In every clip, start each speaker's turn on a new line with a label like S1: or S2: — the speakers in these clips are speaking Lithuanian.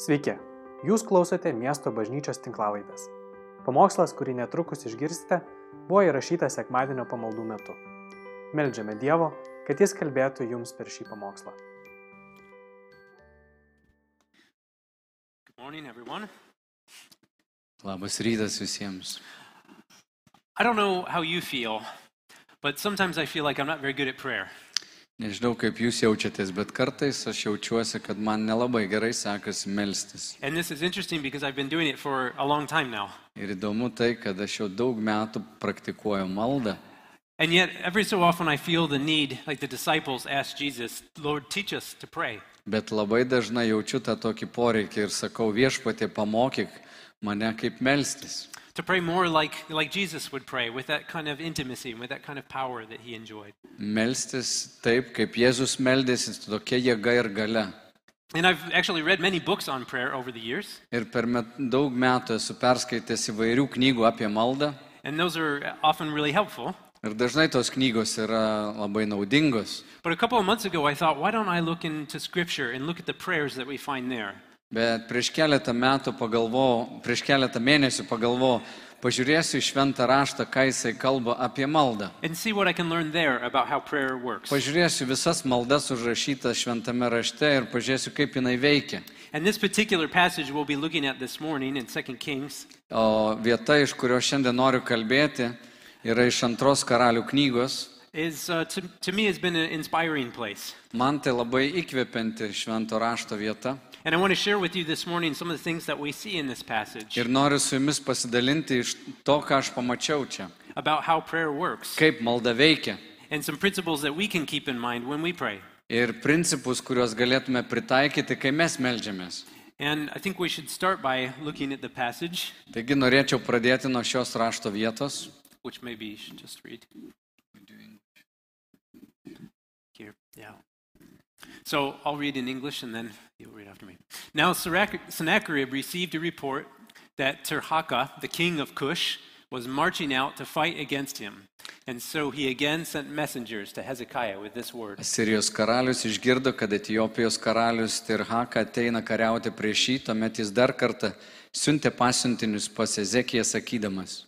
S1: Sveiki, jūs klausote miesto bažnyčios tinklavaitės. Pamokslas, kurį netrukus išgirsite, buvo įrašytas sekmadienio pamaldų metu. Meldžiame Dievo, kad Jis kalbėtų jums per šį pamokslą.
S2: Good morning, everyone.
S3: Labas rytas visiems.
S2: I don't know how you feel, but sometimes I feel like I'm not very good at prayer.
S3: Nežinau, kaip jūs jaučiatės, bet kartais aš jaučiuosi, kad man nelabai gerai sekasi melstis.
S2: And this is interesting because I've been doing it for a long time now.
S3: Ir įdomu tai, kad aš jau daug metų praktikuoju maldą.
S2: And yet, every so often, I feel the need, like the disciples asked Jesus, Lord, teach us to pray.
S3: Bet labai dažnai jaučiu tą tokį poreikį ir sakau viešpatė, pamokyk mane kaip melstis.
S2: To pray more like, like Jesus would pray, with that kind of intimacy and with that kind of power that he enjoyed.
S3: Melstis taip, kaip Jėzus meldėsi, su tokia jėga ir gale.
S2: And I've actually read many books on prayer over the years,
S3: Ir per met, daug metų esu perskaitęs įvairių knygų apie maldą.
S2: and those are often really helpful.
S3: Ir dažnai tos knygos yra labai naudingos.
S2: But a couple of months ago, I thought, why don't I look into Scripture and look at the prayers that we find there?
S3: Bet prieš keletą metų pagalvojau, prieš keletą mėnesių pagalvojau, pažiūrėsiu į šventą raštą, ką jisai kalba apie maldą.
S2: and see what I can learn there about how prayer works.
S3: Pažiūrėsiu visas maldas užrašytas šventame rašte ir pažiūrėsiu, kaip jinai veikia.
S2: And this particular passage we'll be looking at this morning in 2 Kings
S3: O vieta, iš kurio šiandien noriu kalbėti, yra iš antros karalių knygos.
S2: is, uh, to, to me, has been an inspiring place.
S3: Man tai labai įkvepianti švento rašto vieta.
S2: And I want to share with you this morning some of the things that we see in this passage
S3: Ir noriu su jumis pasidalinti iš to, ką aš pamačiau čia.
S2: about how prayer works
S3: Kaip malda veikia.
S2: and some principles that we can keep in mind when we pray.
S3: Ir principus, kuriuos galėtume pritaikyti, kai mes melžiamės.
S2: And I think we should start by looking at the passage,
S3: Taigi norėčiau pradėti nuo šios rašto vietos.
S2: which maybe you should just read. Here, yeah. So I'll read in English and then you'll read after me. Now Serac- Sennacherib received a report that Tirhaka, the king of Cush, was marching out to fight against him. And so he again sent messengers to Hezekiah with this word
S3: Sirijos karalius išgirdo, kad Etijopijos karalius Tirhaka ateina kariauti prieš jį, tuomet jis dar kartą siuntė pasiuntinius pas Ezekiją sakydamas.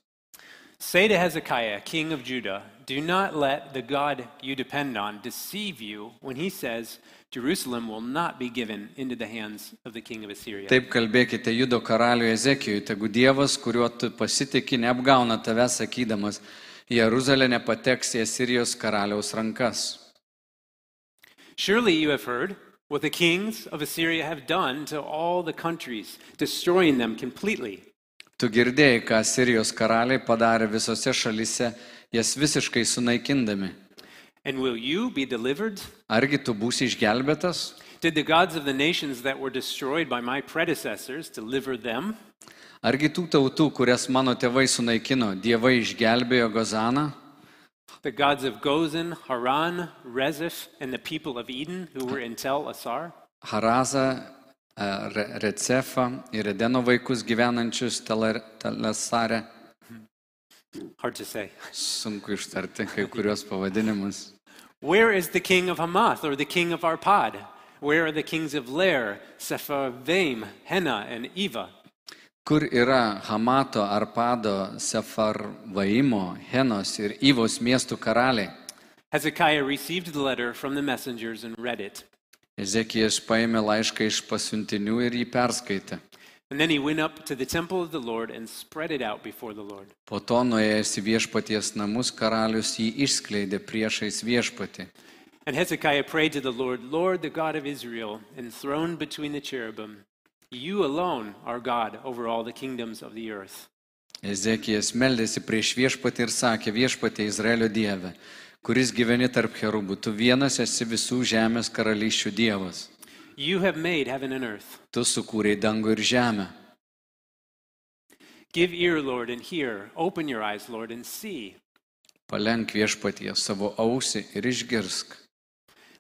S2: Say to Hezekiah, king of Judah, do not let the God you depend on deceive you when he says, Jerusalem will not be given into the hands of the king of Assyria.
S3: Taip kalbėkite Judo karaliui Ezekijui, tegu Dievas, kuriuo tu pasitikė, neapgauna tave sakydamas, Jeruzalė nepateks į Sirijos karaliaus rankas.
S2: Surely you have heard what the kings of Assyria have done to all the countries, destroying them completely.
S3: Tu girdėjai, ką Sirijos karaliai padarė visose šalise, jas visiškai sunaikindami.
S2: And will you be delivered?
S3: Argi tu būsi išgelbėtas?
S2: Did the gods of the nations that were destroyed by my predecessors deliver them?
S3: Argi tų tautų, kurias mano tėvai sunaikino, dievai išgelbėjo Gozaną?
S2: The gods of Gozan, Haran, Rezeph, and the people of Eden who were in Tel Assar?
S3: Harazą, e, Re- Recefą ir Edeno vaikus gyvenančius Telar- Telesare.
S2: Hard to say.
S3: Sunku ištarti kai kuriuos pavadinimus.
S2: Where is the king of Hamath or the king of Arpad? Where are the kings of Ler, Sepharvaim, Hena, and Eva?
S3: Kur yra Hamato, Arpado, Sefarvaimo, Henos ir Įvos miestų karaliai?
S2: Hezekiah received the letter from the messengers and read it.
S3: Ezekijas paėmė laišką iš pasiuntinių ir jį perskaitė.
S2: And then he went up to the temple of the Lord and spread it out before the Lord.
S3: Po to nuėjęs į viešpaties namus karalius jį išskleidė priešais viešpatį.
S2: And Hezekiah prayed to the Lord, Lord, the God of Israel, enthroned between the cherubim, you alone are God over all the kingdoms of the earth.
S3: Ezekijas meldėsi prieš viešpatį ir sakė, viešpatė Izraelio dieve, kuris gyveni tarp cherubų, tu vienas esi visų žemės karalysčių dievas,
S2: You have made heaven and earth.
S3: tu sukūrei dangų ir žemę.
S2: Give ear, Lord, and hear. Open your eyes, Lord, and see.
S3: Palenk viešpatie savo ausį ir išgirsk.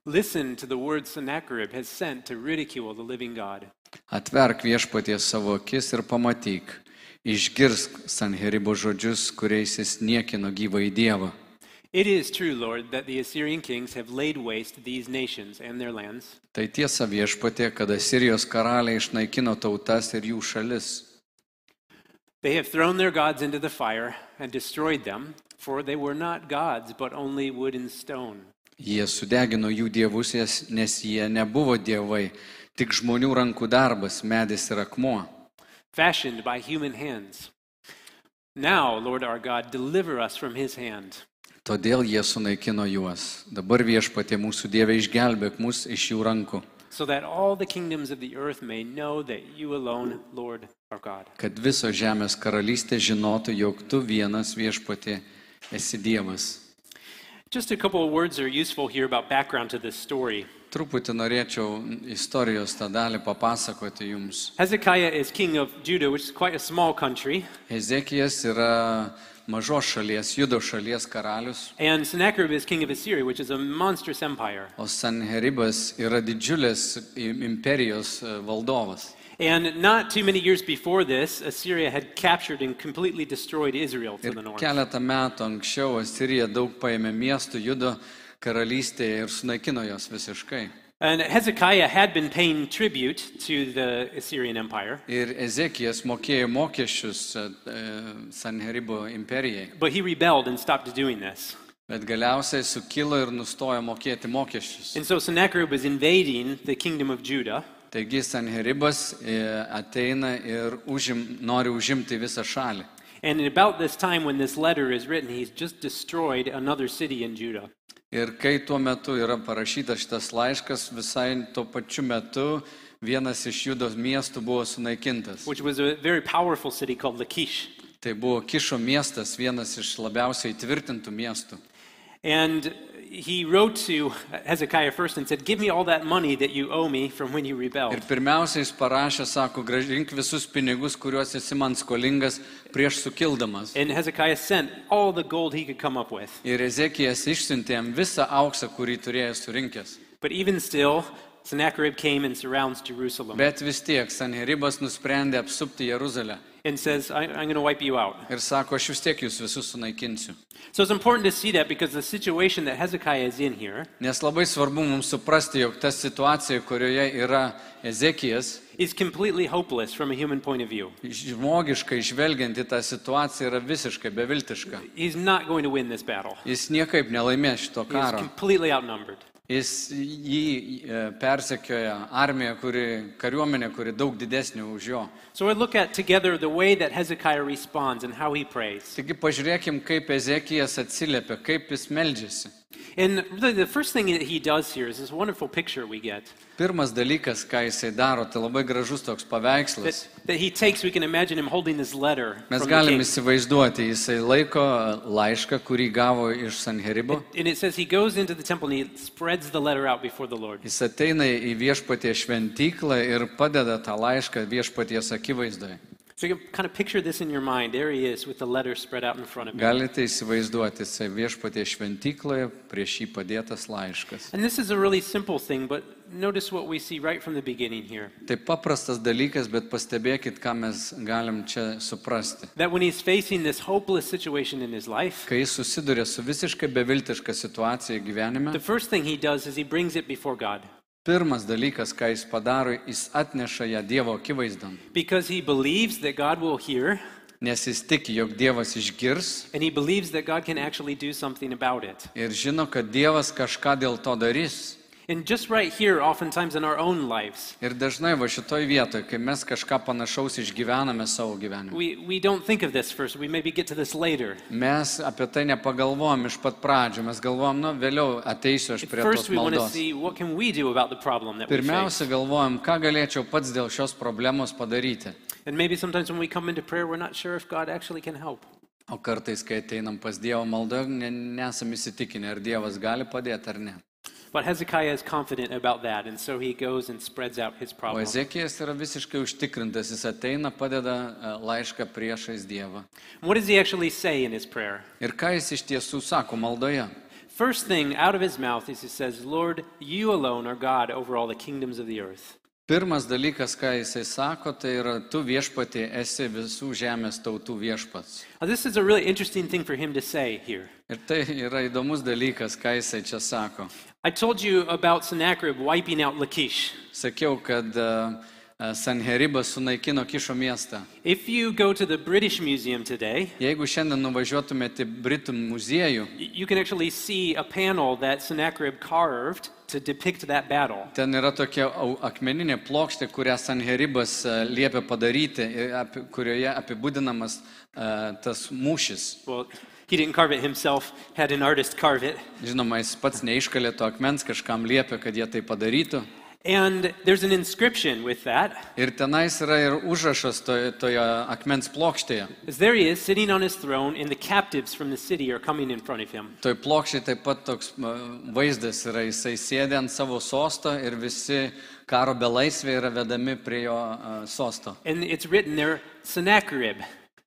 S2: Listen to the words Sennacherib has sent to ridicule the living God.
S3: Atverk viešpatie savo akis ir pamatyk. Išgirsk Sanheribo žodžius, kuriais jis niekino gyvai dievą.
S2: It is true, Lord, that the Assyrian kings have laid waste these nations and their lands,
S3: Tai tiesa viešpatė, kada Sirijos karaliai išnaikino tautas ir jų šalis.
S2: They have thrown their gods into the fire and destroyed them, for they were not gods, but only wood and stone.
S3: Jie sudegino jų dievus, jas- nes jie nebuvo dievai, tik žmonių rankų darbas, medis ir akmuo.
S2: fashioned by human hands. Now, Lord our God, deliver us from his hand.
S3: Todėl jie sunaikino juos. Dabar viešpatė mūsų dievė išgelbėk mus iš jų rankų,
S2: so that all the kingdoms of the earth may know that you alone, Lord, are God.
S3: kad viso žemės karalystė žinotų, jog tu vienas viešpatė esi dievas.
S2: Just a couple of words are useful here about background to this story.
S3: Truputį norėčiau istorijos tą dalį papasakoti jums.
S2: Hezekiah is king of Judah, which is quite a small country,
S3: Ezekijas yra mažos šalies, judo šalies karalius,
S2: and Sennacherib is king of Assyria, which is a monstrous empire.
S3: o Sanheribas yra didžiulės im- imperijos e, valdovas.
S2: And not too many years before this, Assyria had captured and completely destroyed Israel to
S3: Ir
S2: the north.
S3: keletą metų anksčiau Asirija daug paėmė miestų judo karalystėje ir sunaikino jos visiškai.
S2: And Hezekiah had been paying tribute to the Assyrian Empire,
S3: Ir Ezekijas mokėjo mokesčius e, e, Sanheribo imperijai,
S2: but he rebelled and stopped doing this.
S3: bet galiausiai sukilo ir nustojo mokėti mokesčius.
S2: And so Sennacherib is invading the kingdom of Judah,
S3: Taigi Sanheribas e, ateina ir užim, nori užimti visą šalį.
S2: and at about this time when this letter is written, he's just destroyed another city in Judah.
S3: Ir kai tuo metu yra parašytas šitas laiškas, visai tuo pačiu metu vienas iš judos miestų buvo sunaikintas.
S2: which was a very powerful city called Lachish.
S3: Tai buvo Kišo miestas, vienas iš labiausiai tvirtintų miestų.
S2: And he wrote to Hezekiah first and said, Give me all that money that you owe me from when you
S3: Ir
S2: rebelled.
S3: pirmiausia, jis parašė, sako, gražink visus pinigus, kuriuos esi man skolingas prieš sukildamas.
S2: And Hezekiah sent all the gold he could come up with.
S3: Ir Ezekijas išsiuntė jam visą auksą, kurį turėjo surinkęs.
S2: But even still, Sennacherib came and surrounds Jerusalem
S3: Bet vis tiek Sanheribas nusprendė apsupti Jeruzalę
S2: and says, I, I'm going to wipe you out.
S3: ir sako, aš vis tiek jūs visus sunaikinsiu.
S2: So it's important to see that because the situation that Hezekiah is in here
S3: Nes labai svarbu mums suprasti, jog ta situacija, kurioje yra Ezekijas,
S2: is completely hopeless from a human point of view.
S3: žmogiškai žvelgiant į tą situaciją, yra visiškai beviltiška.
S2: He's not going to win this battle.
S3: Jis niekaip nelaimės šito
S2: He's
S3: karo.
S2: completely outnumbered.
S3: Jis jį e, persekioja armija, kuri, kariuomenė, kuri daug didesnė už jo.
S2: So we look at together the way that Hezekiah responds and how he prays.
S3: Taigi pažiūrėkim, kaip Ezekijas atsiliepia, kaip jis meldžiasi.
S2: And really, the first thing that he does here is this wonderful picture we get
S3: Pirmas dalykas, ką jisai daro, tai labai gražus toks paveikslas.
S2: that, that he takes. We can imagine him holding this letter.
S3: Mes
S2: from the
S3: galim
S2: king.
S3: įsivaizduoti, jisai laiko laišką, kurį gavo iš Sanheribo.
S2: And it says he goes into the temple and he spreads the letter out before the Lord.
S3: Jis ateina į viešpatie šventyklą ir padeda tą laišką viešpaties akivaizdoje.
S2: So you can kind of picture this in your mind. There he is with the letter spread out in front of him.
S3: Galite įsivaizduoti, jisai viešpatie šventykloje prieš jį padėtas laiškas.
S2: And this is a really simple thing, but notice what we see right from the beginning here.
S3: Tai paprastas dalykas, bet pastebėkit, ką mes galim čia suprasti.
S2: That when he's facing this hopeless situation in his life,
S3: Kai jis susiduria su visiškai beviltiška situacija gyvenime,
S2: the first thing he does is he brings it before God
S3: pirmas dalykas, ką jis padaro, jis atneša ją Dievo akivaizdon.
S2: because he believes that God will hear
S3: Nes jis tiki, jog Dievas išgirs
S2: and he believes that God can actually do something about it.
S3: ir žino, kad Dievas kažką dėl to darys.
S2: And just right here, oftentimes in our own lives,
S3: Ir dažnai va šitoj vietoj, kai mes kažką panašaus išgyvename savo gyvenime,
S2: we, we don't think of this first. We maybe get to this later.
S3: mes apie tai nepagalvojom iš pat pradžių, mes galvojom, nu, vėliau ateisiu aš prie tos
S2: First, we want to
S3: maldos.
S2: see what can we do about the problem that we face.
S3: Pirmiausia, galvojom, ką galėčiau pats dėl šios problemos padaryti.
S2: And maybe sometimes when we come into prayer, we're not sure if God actually can help.
S3: O kartais, kai ateinam pas Dievo maldoje, ne, nesam įsitikinę, ar Dievas gali padėti ar ne.
S2: But Hezekiah is confident about that, and so he goes and spreads out his
S3: O
S2: problem.
S3: Ezekijas yra visiškai užtikrintas, jis ateina, padeda e, laišką priešais Dievą.
S2: What does he actually say in his prayer?
S3: Ir ką jis iš tiesų sako maldoje?
S2: First thing out of his mouth is he says, Lord, you alone are God over all the kingdoms of the earth.
S3: Pirmas dalykas, ką jisai sako, tai yra, tu viešpatė esi visų žemės tautų viešpats.
S2: Now, this is a really interesting thing for him to say here.
S3: Ir tai yra įdomus dalykas, ką jisai čia sako.
S2: I told you about Sennacherib wiping out Lachish.
S3: Sakiau, kad a, a, Sanheribas sunaikino Kišo miestą.
S2: If you go to the British Museum today,
S3: Jeigu šiandien nuvažiuotumėte į Britų muziejų,
S2: y- you can actually see a panel that Sennacherib carved to depict that battle.
S3: ten yra tokia au- akmeninė plokštė, kurią Sanheribas a, liepia padaryti, ir api- kurioje apibūdinamas a, tas mūšis.
S2: Well, he didn't carve it himself, had an artist carve it.
S3: Žinoma, jis pats neiškalė to akmens, kažkam liepia, kad jie tai padarytų.
S2: And there's an inscription with that.
S3: Ir tenais yra ir užrašas toje, toje akmens plokštėje.
S2: As there he is, sitting on his throne, and the captives from the city are coming in front of him.
S3: Toj plokščiai taip pat toks m, vaizdas yra, jisai sėdi ant savo sosto ir visi karo belaisvė yra vedami prie jo a, sosto.
S2: And it's written there, Sennacherib,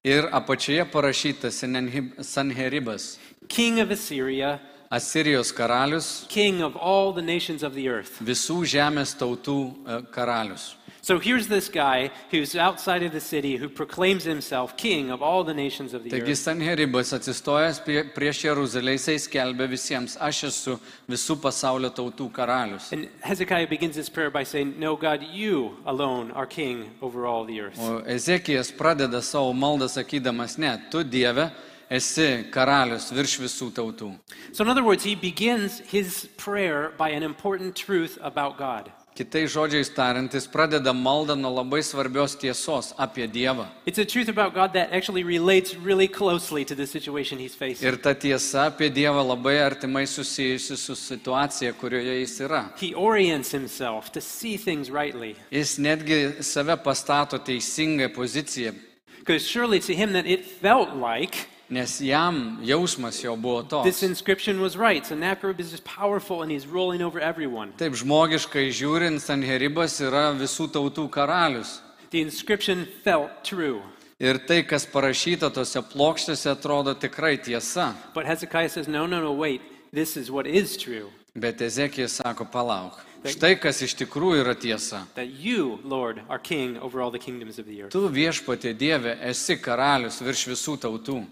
S3: Ir apačioje parašyta Senenhib- Sanheribas,
S2: king of Assyria,
S3: Asirijos karalius,
S2: king of all the nations of the earth.
S3: visų žemės tautų a, karalius.
S2: So here's this guy who's outside of the city who proclaims himself king of all the nations of the
S3: Taigi
S2: earth.
S3: Sanheribas atsistojęs prie, prieš Jeruzalę, jisai skelbia visiems, aš esu visų pasaulio tautų karalius.
S2: And Hezekiah begins his prayer by saying, No, God, you alone are king over all the earth.
S3: O Ezekijas pradeda savo maldą sakydamas, ne, tu Dieve esi karalius virš visų tautų.
S2: So, in other words, he begins his prayer by an important truth about God.
S3: Kitais žodžiais tariant, jis pradeda maldą nuo labai svarbios tiesos apie Dievą.
S2: It's a truth about God that actually relates really closely to the situation he's facing.
S3: Ir ta tiesa apie Dievą labai artimai susijusi su situacija, kurioje jis yra.
S2: He orients himself to see things rightly,
S3: Jis netgi save pastato teisingai poziciją,
S2: because surely to him that it felt like
S3: nes jam jausmas jo buvo
S2: this
S3: toks.
S2: inscription was right. Sennacherib is just powerful and he's rolling over everyone.
S3: Taip žmogiškai žiūrint, Sanheribas yra visų tautų karalius.
S2: The inscription felt true.
S3: Ir tai, kas parašyta tose plokštėse, atrodo tikrai tiesa.
S2: But Hezekiah says, no, no, no, wait. This is what is true.
S3: Bet Ezekijas sako, palauk. Štai kas iš tikrųjų yra tiesa.
S2: That you, Lord, are king over all the kingdoms of the earth.
S3: Tu viešpatė Dieve esi karalius virš visų tautų.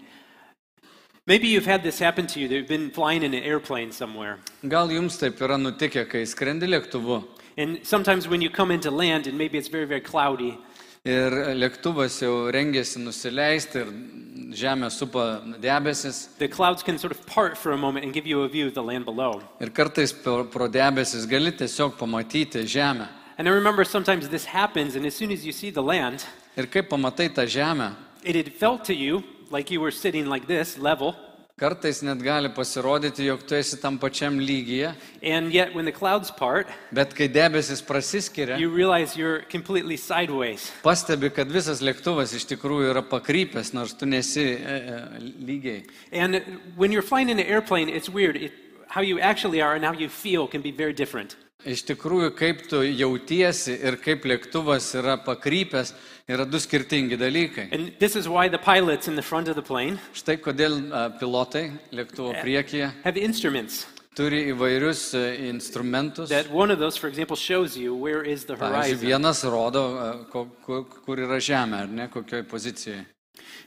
S2: Maybe you've had this happen to you. that You've been flying in an airplane somewhere.
S3: Gal jums taip yra nutikę, kai skrendi lėktuvu
S2: And sometimes when you come into land and maybe it's very, very cloudy,
S3: ir lėktuvas jau rengėsi nusileisti ir žemė supa debesis
S2: the clouds can sort of part for a moment and give you a view of the land below.
S3: ir kartais pro pro debesis gali tiesiog pamatyti žemę.
S2: And I remember sometimes this happens, and as soon as you see the land,
S3: Ir kai pamatai tą žemę,
S2: it had felt to you like you were sitting like this, level.
S3: kartais net gali pasirodyti, jog tu esi tam pačiam lygyje,
S2: And yet when the clouds part,
S3: bet kai debesis prasiskiria,
S2: you realize you're completely sideways.
S3: pastebi, kad visas lėktuvas iš tikrųjų yra pakrypęs, nors tu nesi e, e, lygiai.
S2: And when you're flying in an airplane, it's weird. It, how you actually are and how you feel can be very different.
S3: Iš tikrųjų, kaip tu jautiesi ir kaip lėktuvas yra pakrypęs, yra du skirtingi dalykai.
S2: And this is why the pilots in the front of the plane
S3: Štai kodėl a, pilotai lėktuvo priekyje
S2: have instruments
S3: turi įvairius e, instrumentus.
S2: that one of those, for example, shows you where is the
S3: Pavyzdžiui,
S2: horizon.
S3: vienas rodo, a, ko- ku- kur yra žemė, ar ne, kokioje pozicijoje.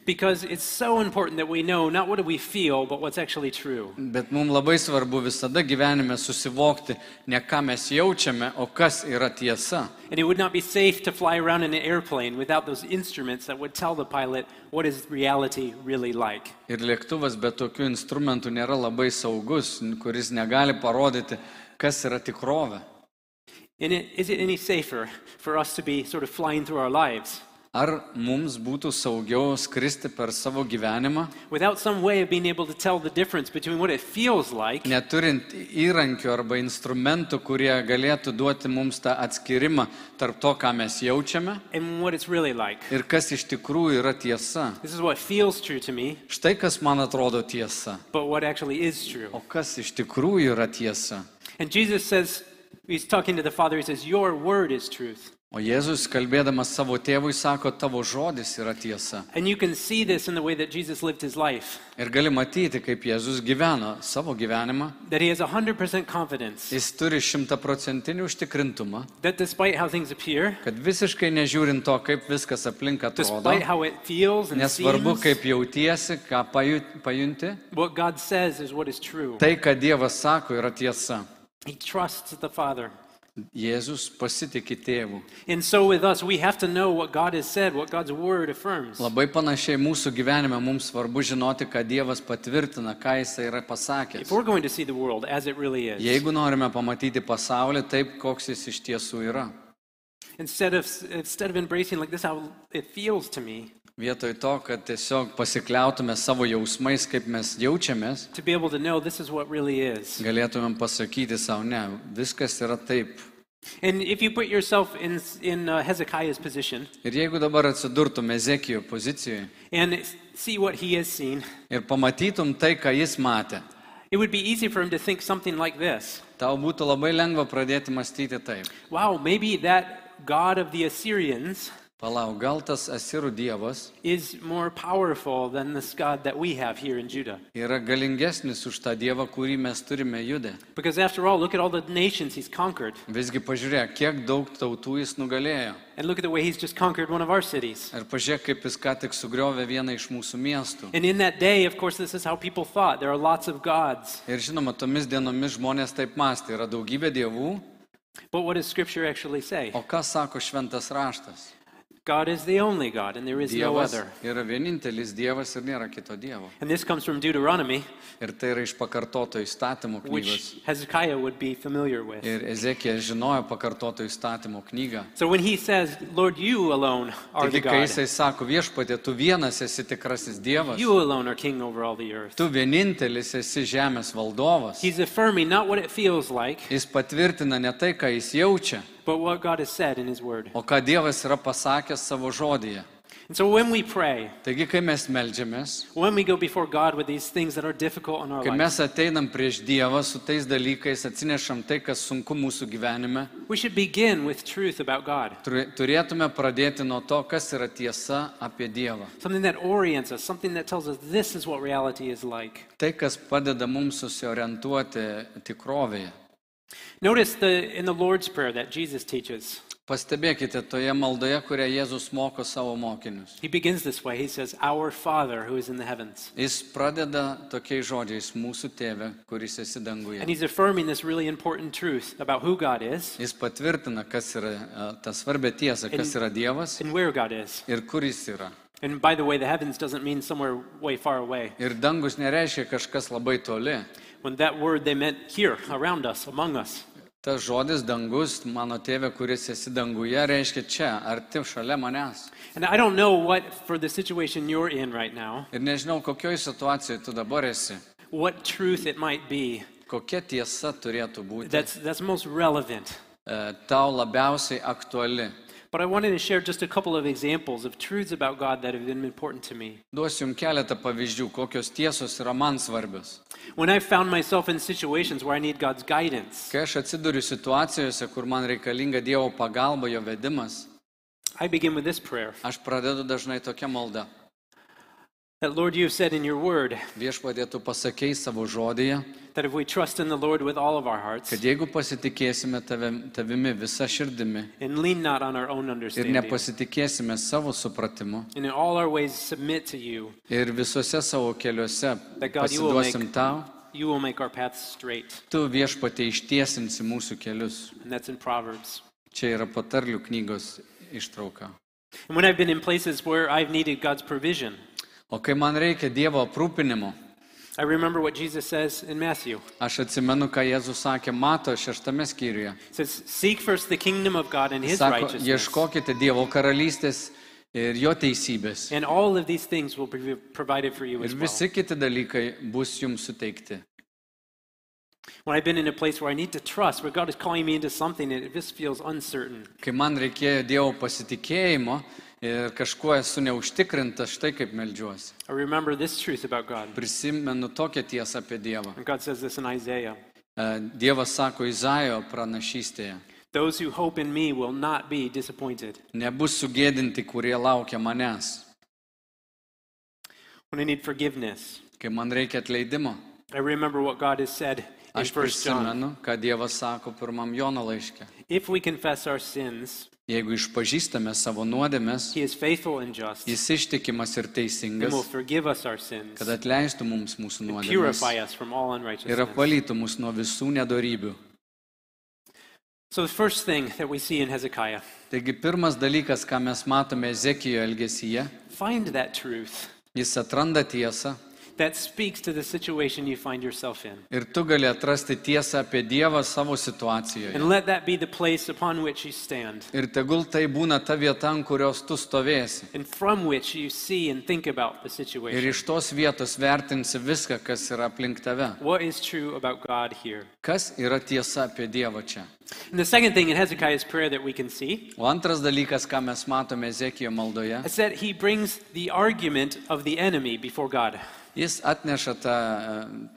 S2: Because it's so important that we know not what do we feel, but what's actually true.
S3: Bet mums labai svarbu visada gyvenime susivokti, ne ką mes jaučiame, o kas yra tiesa.
S2: And it would not be safe to fly around in an airplane without those instruments that would tell the pilot what is reality really like.
S3: Ir lėktuvas be tokių instrumentų nėra labai saugus, n- kuris negali parodyti, kas yra tikrovė.
S2: And it, is it any safer for us to be sort of flying through our lives
S3: Ar mums būtų saugiau skristi per savo gyvenimą,
S2: without some way of being able to tell the difference between what it feels like
S3: neturint įrankių arba instrumentų, kurie galėtų duoti mums tą atskirimą tarp to, ką mes jaučiame
S2: and what it's really like?
S3: ir kas iš tikrųjų yra tiesa.
S2: This is what feels true to me,
S3: Štai kas man atrodo tiesa,
S2: but what actually is true.
S3: o kas iš tikrųjų yra tiesa.
S2: And Jesus says, He's talking to the Father, He says, Your word is truth.
S3: O Jėzus, kalbėdamas savo tėvui, sako, tavo žodis yra tiesa.
S2: And you can see this in the way that Jesus lived his life,
S3: Ir gali matyti, kaip Jėzus gyveno savo gyvenimą.
S2: that he has 100% confidence
S3: Jis turi šimtaprocentinį užtikrintumą,
S2: that despite how things appear,
S3: kad visiškai nežiūrint to, kaip viskas aplink atrodo,
S2: despite how it feels and
S3: nesvarbu,
S2: seems,
S3: kaip jautiesi, ką paju- pajunti,
S2: what God says is what is true.
S3: tai, ką Dievas sako, yra tiesa.
S2: He trusts the Father.
S3: Jėzus pasitikė tėvų.
S2: And so with us, we have to know what God has said, what God's word affirms.
S3: Labai panašiai mūsų gyvenime mums svarbu žinoti, ką Dievas patvirtina, ką Jis yra pasakęs.
S2: If we're going to see the world as it really is,
S3: Jeigu norime pamatyti pasaulį taip, koks jis iš tiesų yra,
S2: instead of instead of embracing like this how it feels to me,
S3: vietoj to, kad tiesiog pasikliautume savo jausmais, kaip mes jaučiamės,
S2: to be able to know this is what really is.
S3: galėtumėm pasakyti savo, ne, viskas yra taip.
S2: And if you put yourself in in uh, Hezekiah's position
S3: Ir jeigu dabar atsidurtum Ezekijo pozicijoje
S2: and see what he has seen,
S3: ir pamatytum tai, ką jis matė,
S2: it would be easy for him to think something like this.
S3: tau būtų labai lengva pradėti mąstyti taip.
S2: Wow, maybe that God of the Assyrians
S3: Palau, gal tas asirų dievas
S2: is more powerful than this God that we have here in Judah.
S3: yra galingesnis už tą dievą, kurį mes turime judę.
S2: Because after all, look at all the nations he's conquered.
S3: Visgi pažiūrėk, kiek daug tautų jis nugalėjo.
S2: And look at the way he's just conquered one of our cities.
S3: Ir pažiūrėk, kaip jis ką tik sugriovė vieną iš mūsų miestų.
S2: And in that day, of course, this is how people thought. There are lots of gods.
S3: Ir žinoma, tomis dienomis žmonės taip mąstė, yra daugybė dievų,
S2: But what does Scripture actually say?
S3: o ką sako šventas raštas?
S2: God is the only God, and there is no
S3: Dievas
S2: other.
S3: yra vienintelis Dievas ir nėra kito Dievo.
S2: And this comes from Deuteronomy,
S3: Ir tai yra iš pakartoto įstatymo knygos.
S2: which Hezekiah would be familiar with.
S3: Ir Ezekija žinojo pakartoto įstatymo knygą.
S2: So when he says, Lord, you alone are the
S3: Taigi, kai
S2: God,
S3: jisai sako viešpatė, tu vienas esi tikrasis Dievas,
S2: you alone are king over all the earth,
S3: tu vienintelis esi žemės valdovas,
S2: he's affirming not what it feels like,
S3: jis patvirtina ne tai, ką jis jaučia,
S2: but what God has said in his word.
S3: o ką Dievas yra pasakęs savo žodyje.
S2: And so when we pray,
S3: Taigi, kai mes melžiamės,
S2: when we go before God with these things that are difficult in our
S3: kai
S2: life,
S3: mes ateinam prieš Dievą su tais dalykais, atsinešam tai, kas sunku mūsų gyvenime,
S2: we should begin with truth about God,
S3: Turi- Turėtume pradėti nuo to, kas yra tiesa apie Dievą.
S2: something that orients us, something that tells us this is what reality is like.
S3: Tai, kas padeda mums susiorientuoti tikrovėje.
S2: Notice the, in the Lord's Prayer that Jesus teaches,
S3: Pastebėkite toje maldoje, kurią Jėzus moko savo mokinius.
S2: he begins this way. He says, Our Father who is in the heavens.
S3: Jis pradeda tokiais žodžiais - mūsų tėve, kuris esi
S2: And
S3: danguje.
S2: he's affirming this really important truth about who God is
S3: Jis patvirtina, kas yra e, ta svarbia tiesa, kas yra Dievas
S2: and where God is.
S3: ir kur jis yra.
S2: And by the way, the heavens doesn't mean somewhere way far away.
S3: Ir dangus nereiškia kažkas labai toli.
S2: When that word they meant here, around us, among us.
S3: Tas žodis dangus, mano tėve, kuris esi danguje, reiškia čia, arti šalia manęs.
S2: And I don't know what, for the situation you're in right now,
S3: Ir nežinau, kokioj situacijoje tu dabar esi,
S2: what truth it might be
S3: kokia tiesa turėtų būti
S2: that's, that's most relevant.
S3: e, tau labiausiai aktuali.
S2: But I wanted to share just a couple of examples of truths about God that have been important to me.
S3: Duosiu jums keletą pavyzdžių, kokios tiesos yra man svarbios.
S2: When I found myself in situations where I need God's guidance,
S3: Kai aš atsiduriu situacijose, kur man reikalinga Dievo pagalba, jo vedimas,
S2: I begin with this prayer
S3: aš pradedu dažnai tokią maldą.
S2: that, Lord, you have said in your word
S3: Viešpadė, tu pasakėjai savo žodyje,
S2: that if we trust in the Lord with all of our hearts
S3: kad jeigu pasitikėsime tavim, tavimi visa širdimi
S2: and lean not on our own
S3: ir
S2: understanding,
S3: nepasitikėsime savo supratimu
S2: and in all our ways submit to you,
S3: ir visuose savo keliuose
S2: That God, you will make-
S3: pasiduosim tau,
S2: you will make our paths straight.
S3: Tu viešpatė ištiesinsi mūsų kelius.
S2: And that's in Proverbs.
S3: Čia yra patarlių knygos ištrauka.
S2: And when I've been in places where I've needed God's provision,
S3: O kai man reikia Dievo aprūpinimo,
S2: I remember what Jesus says in Matthew.
S3: aš atsimenu, ką Jėzus sakė Mato šeštame skyriuje.
S2: He says, Seek first the kingdom of God and his
S3: Sako,
S2: righteousness,
S3: ieškokite Dievo karalystės ir jo teisybės.
S2: and all of these things will be provided for you as
S3: Ir
S2: well.
S3: visi kiti dalykai bus jums suteikti.
S2: When I've been in a place where I need to trust, where God is calling me into something and it just feels uncertain,
S3: Kai man reikėjo Dievo pasitikėjimo ir kažkuo esu neužtikrintas, štai kaip melžiuosi.
S2: I remember this truth about God.
S3: Prisimenu tokią tiesą apie Dievą.
S2: And God says this in Isaiah
S3: E, Dievas sako Izaijo pranašystėje.
S2: Those who hope in me will not be disappointed.
S3: Nebus sugėdinti, kurie laukia manęs.
S2: When I need forgiveness,
S3: Kai man reikia atleidimo,
S2: I remember what God has said in 1
S3: aš
S2: John.
S3: prisimenu, ką Dievas sako pirmam Jono laiške.
S2: If we confess our sins,
S3: Jeigu išpažįstame savo nuodėmes,
S2: He is faithful and just
S3: jis ištikimas ir
S2: and will
S3: teisingas,
S2: forgive us our sins,
S3: kad atleistų mums mūsų nuodėmes
S2: purify us from all
S3: ir
S2: unrighteousness.
S3: apvalytų mus nuo visų nedorybių.
S2: So, the first thing that we see in Hezekiah
S3: Taigi pirmas dalykas, ką mes matome Ezekijo elgesyje,
S2: find that truth
S3: jis atranda tiesą
S2: that speaks to the situation you find yourself in.
S3: ir tu gali atrasti tiesą apie Dievą savo situacijoje.
S2: And let that be the place upon which you stand
S3: Ir tegul tai būna ta vieta, ant kurios tu stovėsi.
S2: and from which you see and think about the situation.
S3: Ir iš tos vietos vertinsi viską, kas yra aplink tave.
S2: What is true about God here?
S3: Kas yra tiesa apie Dievą čia?
S2: And the second thing in Hezekiah's prayer that we can see
S3: O antras dalykas, ką mes matome Ezekijo maldoje,
S2: is that he brings the argument of the enemy before God.
S3: jis atneša ta,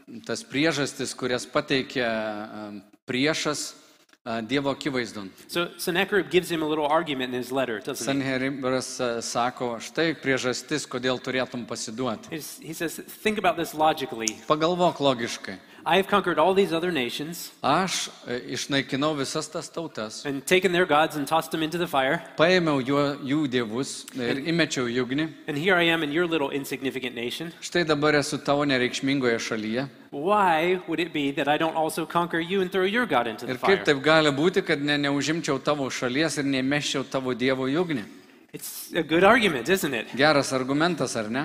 S3: e, tas priežastis, kurias pateikia e, priešas e, Dievo akivaizdon.
S2: So Sennacherib gives him a little argument in his letter, doesn't he?
S3: Sanheribras e, sako, štai priežastis, kodėl turėtum pasiduoti.
S2: He's- He says, Think about this logically.
S3: Pagalvok logiškai.
S2: I have conquered all these other nations
S3: Aš e, išnaikinau visas tas tautas,
S2: and taken their gods and tossed them into the fire.
S3: paėmiau jų, jų dievus ir įmečiau į ugnį.
S2: And here I am in your little insignificant nation.
S3: Štai dabar esu tavo nereikšmingoje šalyje.
S2: Why would it be that I don't also conquer you and throw your God into the
S3: Ir kaip
S2: fire?
S3: taip gali būti, kad ne, neužimčiau tavo šalies ir neįmeščiau tavo dievo į ugnį?
S2: It's a good argument, isn't it?
S3: Geras argumentas, ar ne?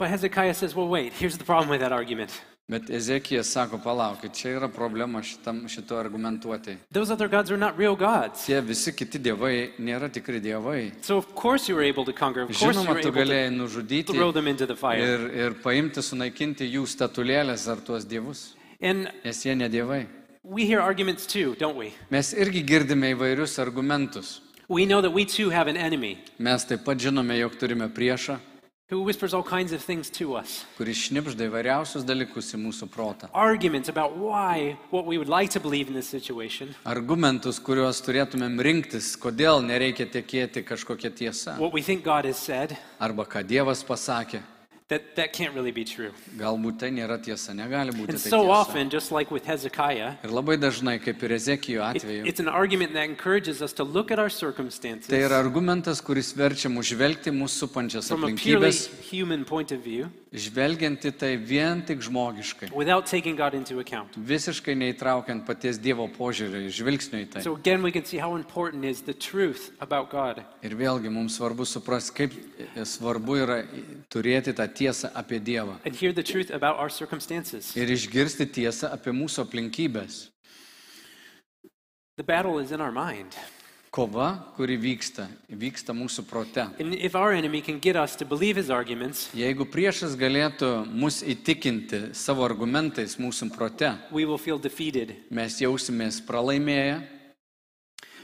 S2: But Hezekiah says, Well, wait, here's the problem with that argument.
S3: Bet Ezekijas sako, palaukit, čia yra problema šitam, šito argumentuotai.
S2: Those other gods are not real gods.
S3: Tie visi kiti dievai nėra tikri dievai.
S2: So, of course, you were able to conquer. Of course, you
S3: Žinoma,
S2: were
S3: tu
S2: able to
S3: galėjai nužudyti
S2: throw them into the fire.
S3: ir, ir paimti, sunaikinti jų statulėlės ar tuos dievus,
S2: And
S3: nes jie ne dievai.
S2: we hear arguments too, don't we?
S3: Mes irgi girdime įvairius argumentus.
S2: We know that we too have an enemy
S3: Mes taip pat žinome, jog turime priešą,
S2: who whispers all kinds of things to us.
S3: kuris šnipžda įvairiausius dalykus į mūsų protą.
S2: Arguments about why, what we would like to believe in this situation,
S3: argumentus, kuriuos turėtumėm rinktis, kodėl nereikia tikėti kažkokia tiesa.
S2: what we think God has said,
S3: Arba ką Dievas pasakė,
S2: that that can't really be true.
S3: galbūt tai nėra tiesa, negali būti
S2: And
S3: tai
S2: so
S3: tiesa.
S2: often, just like with Hezekiah,
S3: Ir labai dažnai, kaip ir Ezekijo
S2: it-
S3: atveju,
S2: it's an argument that encourages us to look at our
S3: tai yra
S2: circumstances
S3: argumentas, kuris verčia mus žvelgti mūsų supančias
S2: from a purely
S3: aplinkybės,
S2: human point of view
S3: žvelgianti tai vien tik žmogiškai,
S2: without taking God into account.
S3: visiškai neįtraukiant paties Dievo požiūrį, žvilgsnio į tai.
S2: So again, we can see how important is the truth about God.
S3: Ir vėlgi mums svarbu suprasti, kaip e, svarbu yra i- turėti tą tiesą apie Dievą
S2: and hear the truth about our circumstances.
S3: ir išgirsti tiesą apie mūsų aplinkybės.
S2: The battle is in our mind.
S3: kova, kuri vyksta, vyksta mūsų prote.
S2: And if our enemy can get us to believe his arguments,
S3: Jeigu priešas galėtų mus įtikinti savo argumentais mūsų prote,
S2: we will feel defeated.
S3: mes jausimės pralaimėję.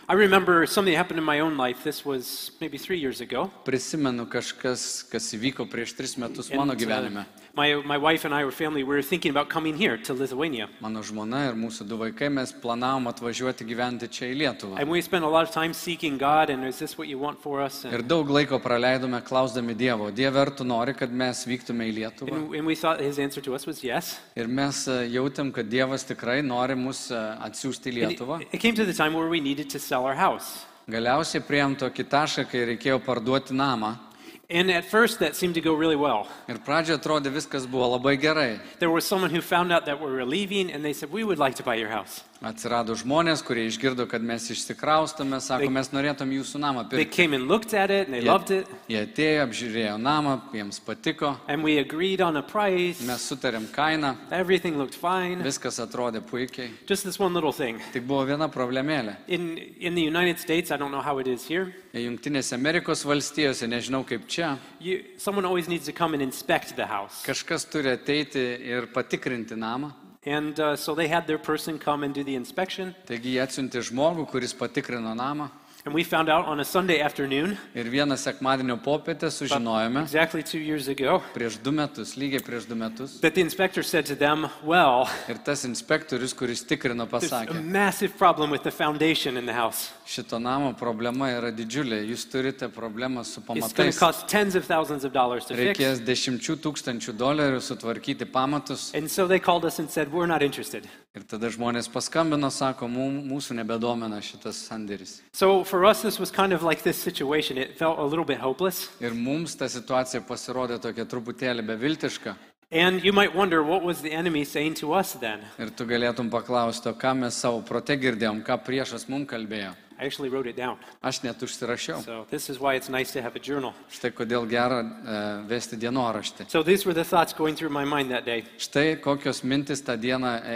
S2: I remember something that happened in my own life. This was maybe three years ago.
S3: Prisimenu kažkas, kas įvyko prieš tris metus
S2: And,
S3: mano
S2: uh,
S3: gyvenime.
S2: my, my wife and I were family. We were thinking about coming here to Lithuania.
S3: Mano žmona ir mūsų du vaikai mes planavom atvažiuoti gyventi čia į Lietuvą.
S2: And we spent a lot of time seeking God and is this what you want for us?
S3: Ir
S2: And,
S3: daug laiko praleidome klausdami Dievo, Dieve, ar tu nori, kad mes vyktume į Lietuvą?
S2: and, and we thought his answer to us was yes.
S3: Ir mes e, jautėm, kad Dievas tikrai nori mus e, atsiųsti į
S2: And
S3: Lietuvą.
S2: It, it came to the time where we needed to sell our house.
S3: Galiausiai prieėm tokį tašką, kai reikėjo parduoti namą.
S2: And at first, that seemed to go really well.
S3: Ir pradžioje atrodė viskas buvo labai gerai.
S2: There was someone who found out that we were leaving and they said, We would like to buy your house.
S3: Atsirado žmonės, kurie išgirdo, kad mes išsikraustome, sako,
S2: They-
S3: mes norėtum jūsų namą
S2: They
S3: pirkti.
S2: came and looked at it and they loved
S3: Jie,
S2: it.
S3: jie atėjo, apžiūrėjo namą, jiems patiko,
S2: And we agreed on a price.
S3: mes sutarėm kainą,
S2: Everything looked fine.
S3: viskas atrodė puikiai.
S2: Just this one little thing.
S3: Tik buvo viena problemėlė.
S2: In, in the United States, I don't know how it is here,
S3: Junktinėse Amerikos valstijose, nežinau kaip čia,
S2: you, someone always needs to come and inspect the house.
S3: kažkas turi ateiti ir patikrinti namą.
S2: And uh, so they had their person come and do the inspection.
S3: Taigi jie atsiuntė žmogų, kuris patikrino namą.
S2: And we found out on a Sunday afternoon,
S3: Ir vieną sekmadienio popietę sužinojome,
S2: exactly two years ago,
S3: prieš du metus, lygiai prieš du metus,
S2: that the inspector said to them, Well,
S3: ir tas inspektorius, kuris tikrino,
S2: there's a
S3: pasakė,
S2: massive problem with the foundation in the house.
S3: šito namo problema yra didžiulė, jūs turite problemą su
S2: It's going to
S3: pamatais,
S2: cost tens of thousands of dollars to fix.
S3: reikės dešimčių tūkstančių dolerių sutvarkyti pamatus.
S2: And so they called us and said, We're not interested.
S3: Ir tada žmonės paskambino, sako, "Mum- mūsų nebedomina šitas sandėris.
S2: So for us, this was kind of like this situation. It felt a little bit hopeless.
S3: Ir mums ta situacija pasirodė tokia truputėlį beviltiška.
S2: And you might wonder, what was the enemy saying to us then?
S3: Ir tu galėtum paklausti, o ką mes savo prote girdėjom, ką priešas mums kalbėjo.
S2: I actually wrote it down.
S3: Aš net užsirašiau.
S2: So this is why it's nice to have a journal.
S3: Štai kodėl gera e, vesti dienoraštį.
S2: So these were the thoughts going through my mind that day.
S3: Štai kokios mintis tą dieną e,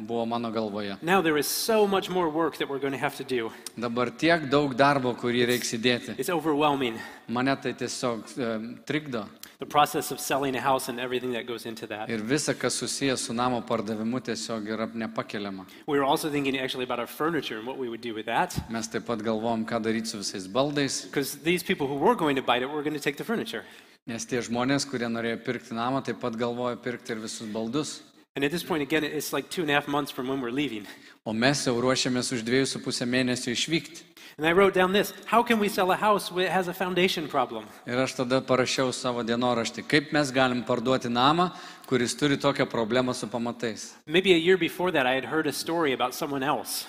S3: e, buvo mano galvoje.
S2: Now there is so much more work that we're going to have to do.
S3: Dabar tiek daug darbo, kurį reiks įdėti.
S2: It's overwhelming,
S3: Mane tai tiesiog e, trikdo.
S2: the process of selling a house and everything that goes into that.
S3: Ir visa, kas susijęs su namo pardavimu, tiesiog yra nepakeliama.
S2: We were also thinking actually about our furniture and what we would do with that.
S3: Mes taip pat galvojom, ką daryti su visais baldais,
S2: Because these people who were going to buy it were going to take the furniture.
S3: nes tie žmonės, kurie norėjo pirkti namą, taip pat galvojo pirkti ir visus baldus.
S2: And at this point, again, it's like two and a half months from when we're leaving.
S3: O mes jau ruošiamės už dviejų su pusę mėnesių išvykti.
S2: And I wrote down this How can we sell a house when it has a foundation problem?
S3: Ir aš tada parašiau savo dienoraštį, kaip mes galim parduoti namą, kuris turi tokią problemą su pamatais.
S2: Maybe a year before that, I had heard a story about someone else.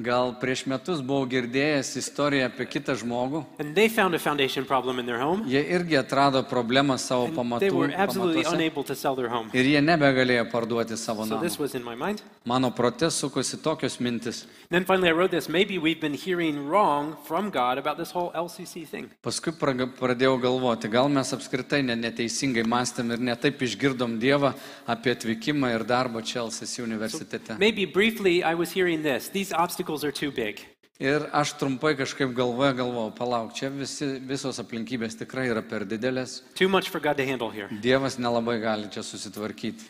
S3: Gal prieš metus buvau girdėjęs istoriją apie kitą žmogų.
S2: And they found a foundation problem in their home.
S3: Jie irgi atrado problemą savo
S2: and they
S3: pamatų,
S2: were absolutely
S3: pamatuose
S2: unable to sell their home.
S3: ir jie nebegalėjo parduoti savo
S2: So
S3: namą.
S2: this was in my mind.
S3: Mano prote sukosi tokios mintis.
S2: And then finally, I wrote this maybe we've been hearing wrong from God about this whole LCC thing.
S3: Paskui praga- pradėjau galvoti, gal mes apskritai ne- neteisingai mąstėm ir netaip išgirdom Dievą apie atvykimą ir darbą Čelsis universitete.
S2: Maybe briefly, I was hearing this these obstacles are too big.
S3: Ir aš trumpai kažkaip galvoje galvojau, palauk, čia visi, visos aplinkybės tikrai yra per didelės,
S2: Too much for God to handle here.
S3: Dievas nelabai gali čia susitvarkyti.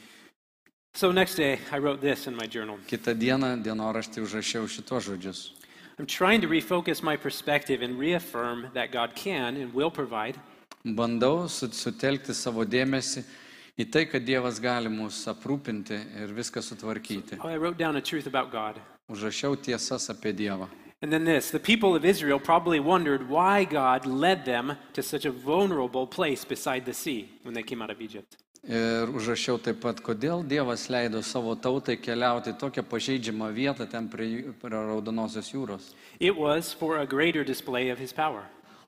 S2: So next day, I wrote this in my journal.
S3: Kita diena dienoraštį užrašiau šituos žodžius.
S2: I'm trying to refocus my perspective and reaffirm that God can and will provide,
S3: Bandau su- sutelkti savo dėmesį į tai, kad Dievas gali mus aprūpinti ir viską sutvarkyti.
S2: Oh, I wrote down a truth about God.
S3: Užrašiau tiesas apie Dievą.
S2: And then this the people of Israel probably wondered why God led them to such a vulnerable place beside the sea when they came out of Egypt.
S3: Ir užrašiau taip pat, kodėl Dievas leido savo tautai keliauti į tokią pažeidžiamą vietą ten prie, jū- prie Raudonosios jūros.
S2: It was for a greater display of his power.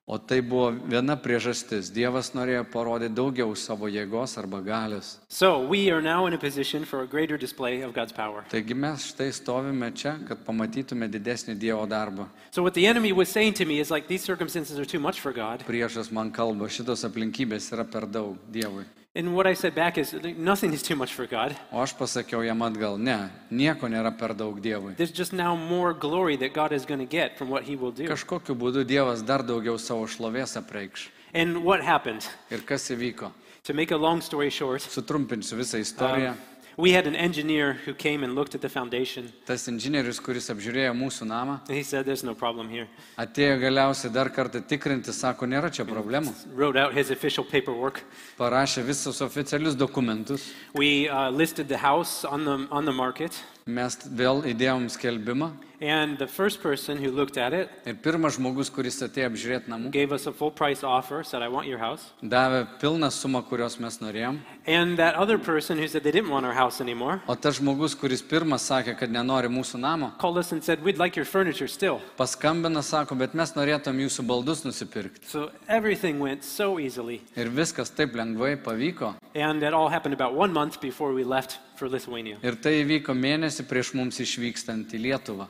S3: O tai buvo viena priežastis. Dievas norėjo parodyti daugiau savo jėgos arba galios.
S2: So we are now in a position for a greater display of God's power.
S3: Taigi mes štai stovime čia, kad pamatytume didesnį Dievo darbą.
S2: So what the enemy was saying to me is like these circumstances are too much for God.
S3: Priešas man kalba, šitos aplinkybės yra per daug Dievui.
S2: And what I said back is like, nothing is too much for God.
S3: O aš pasakiau jam atgal, ne, nieko nėra per daug Dievui.
S2: There's just now more glory that God is going to get from what he will do.
S3: Kažkokiu būdu Dievas dar daugiau savo šlovės apreikš.
S2: And what happened?
S3: Ir kas įvyko?
S2: To make a long story short,
S3: Sutrumpinsiu visą istoriją.
S2: um, we had an engineer who came and looked at the foundation,
S3: Tas inžinierius, kuris apžiūrėjo mūsų namą,
S2: and he said, There's no problem here.
S3: atėjo galiausiai dar kartą tikrinti, sako, nėra čia problemų.
S2: Wrote out his official paperwork.
S3: Parašė visus oficialius dokumentus.
S2: We uh, listed the house on the, on the market,
S3: Mes vėl įdėjom skelbimą.
S2: and the first person who looked at it
S3: Ir pirmas žmogus, kuris atėjo apžiūrėti namų,
S2: gave us a full price offer, said, I want your house.
S3: davė pilną sumą, kurios mes norėjom.
S2: And that other person who said they didn't want our house anymore
S3: O tas žmogus, kuris pirmas sakė, kad nenori mūsų namo,
S2: called us and said, We'd like your furniture still.
S3: paskambina, sako, bet mes norėtum jūsų baldus nusipirkti.
S2: So everything went so easily.
S3: Ir viskas taip lengvai pavyko.
S2: And that all happened about one month before we left for Lithuania.
S3: Ir tai įvyko mėnesį prieš mums išvykstant į Lietuvą.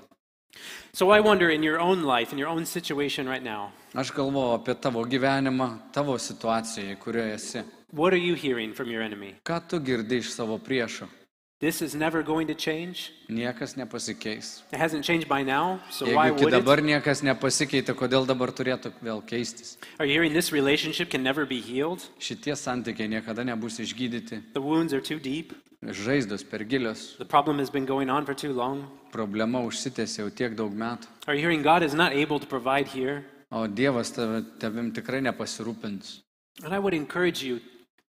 S2: So I wonder in your own life, in your own situation right now,
S3: Aš galvoju apie tavo gyvenimą, tavo situaciją, kurioje esi.
S2: what are you hearing from your enemy?
S3: Ką tu girdi iš savo priešo?
S2: This is never going to change.
S3: Niekas nepasikeis.
S2: It hasn't changed by now, so why
S3: Jeigu iki
S2: would it?
S3: dabar niekas nepasikeitė, kodėl dabar turėtų vėl keistis?
S2: Are you hearing this relationship can never be healed?
S3: Šitie santykiai niekada nebus išgydyti,
S2: The wounds are too deep.
S3: Žaizdos per gilios,
S2: The problem has been going on for too long.
S3: problema užsitęsė jau tiek daug metų.
S2: Are you hearing God is not able to provide here?
S3: O Dievas tave, tavim tikrai nepasirūpins.
S2: And I would encourage you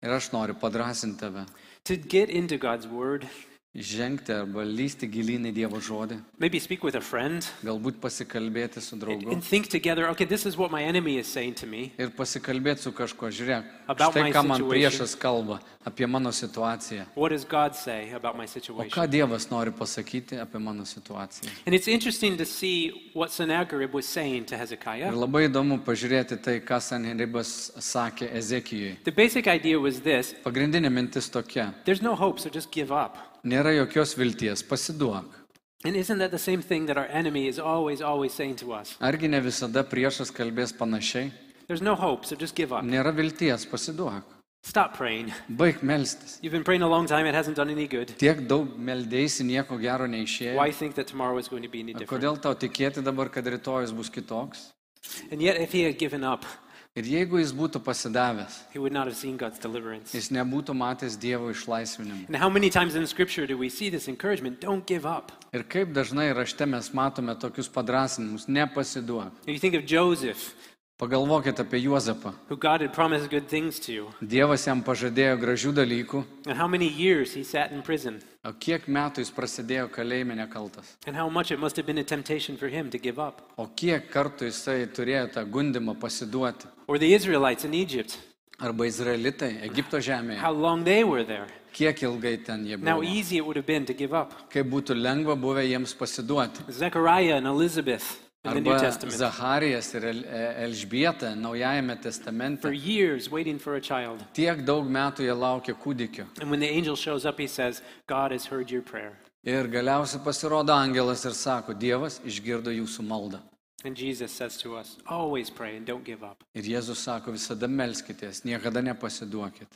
S3: Ir aš noriu padrasinti tave.
S2: to get into God's Word.
S3: Žengti arba lysti gilinį Dievo žodį.
S2: Maybe speak with a friend
S3: Galbūt pasikalbėti su
S2: and,
S3: draugu.
S2: and think together okay, this is what my enemy is saying to me.
S3: Ir pasikalbėti su kažkuo. Žiūrėk,
S2: About
S3: štai
S2: my
S3: ką man
S2: situation.
S3: priešas kalba apie mano situaciją.
S2: What does God say about my
S3: O
S2: situation?
S3: ką Dievas nori pasakyti apie mano situaciją?
S2: And it's interesting to see what Sennacherib was saying to
S3: Ir
S2: Hezekiah.
S3: labai įdomu pažiūrėti tai, ką Sanheribas sakė Ezekijui.
S2: The basic idea was this
S3: Pagrindinė mintis tokia.
S2: there's no hope, so just give up.
S3: Nėra jokios vilties, pasiduok.
S2: And isn't that the same thing that our enemy is always, always saying to us?
S3: Argi ne visada priešas kalbės panašiai?
S2: There's no hope, so just give up.
S3: Nėra vilties, pasiduok.
S2: Stop praying.
S3: Baig melstis.
S2: You've been praying a long time, it hasn't done any good.
S3: Tiek daug meldėsi, nieko gero neišėjo.
S2: Why think that tomorrow is going to be any
S3: Ar
S2: different?
S3: Kodėl tau tikėti dabar, kad rytojus bus kitoks?
S2: And yet, if he had given up,
S3: Ir jeigu jis būtų pasidavęs,
S2: he would not have seen God's deliverance.
S3: jis nebūtų matęs Dievo išlaisvinimo.
S2: And how many times in Scripture do we see this encouragement? Don't give up.
S3: Ir kaip dažnai rašte mes matome tokius padrasinimus, nepasiduok.
S2: You think of Joseph,
S3: Pagalvokit apie Juozapą.
S2: who God had promised good things to,
S3: Dievas jam pažadėjo gražių dalykų,
S2: and how many years he sat in prison,
S3: o kiek metų jis prasidėjo kalėjime nekaltas.
S2: and how much it must have been a temptation for him to give up.
S3: O kiek kartų jisai turėjo tą gundimą pasiduoti.
S2: Or the Israelites in Egypt,
S3: Arba izraelitai Egipto žemėje.
S2: how long they were there.
S3: Kiek ilgai ten jie
S2: And how
S3: buvo.
S2: easy it would have been to give up.
S3: Kaip būtų lengva buvę jiems pasiduoti.
S2: Zechariah and Elizabeth in the New
S3: Arba
S2: Testament,
S3: Zacharijas ir El- E- Elžbieta Naujajame
S2: for
S3: testamente.
S2: years waiting for a child.
S3: Tiek daug metų jie laukė kūdikio.
S2: And when the angel shows up, he says, God has heard your prayer.
S3: Ir galiausiai pasirodo angelas ir sako, Dievas išgirdo jūsų maldą.
S2: And Jesus says to us, always pray and don't give up.
S3: Ir Jėzus sako, visada melskitės, niekada nepasiduokit.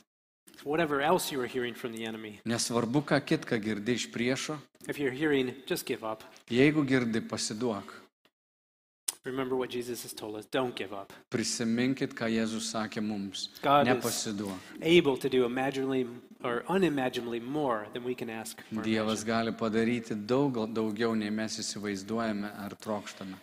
S2: Whatever else you are hearing from the enemy,
S3: Nesvarbu, ką kitką girdi iš priešo,
S2: if you're hearing, just give up.
S3: jeigu girdi, pasiduok.
S2: Remember what Jesus has told us don't give up.
S3: Prisiminkit, ką Jėzus sakė mums.
S2: God is-
S3: Nepasiduok.
S2: Able to do imaginably or unimaginably more than we can ask. Or imagine.
S3: Dievas gali padaryti daug daugiau, nei mes įsivaizduojame ar trokštame.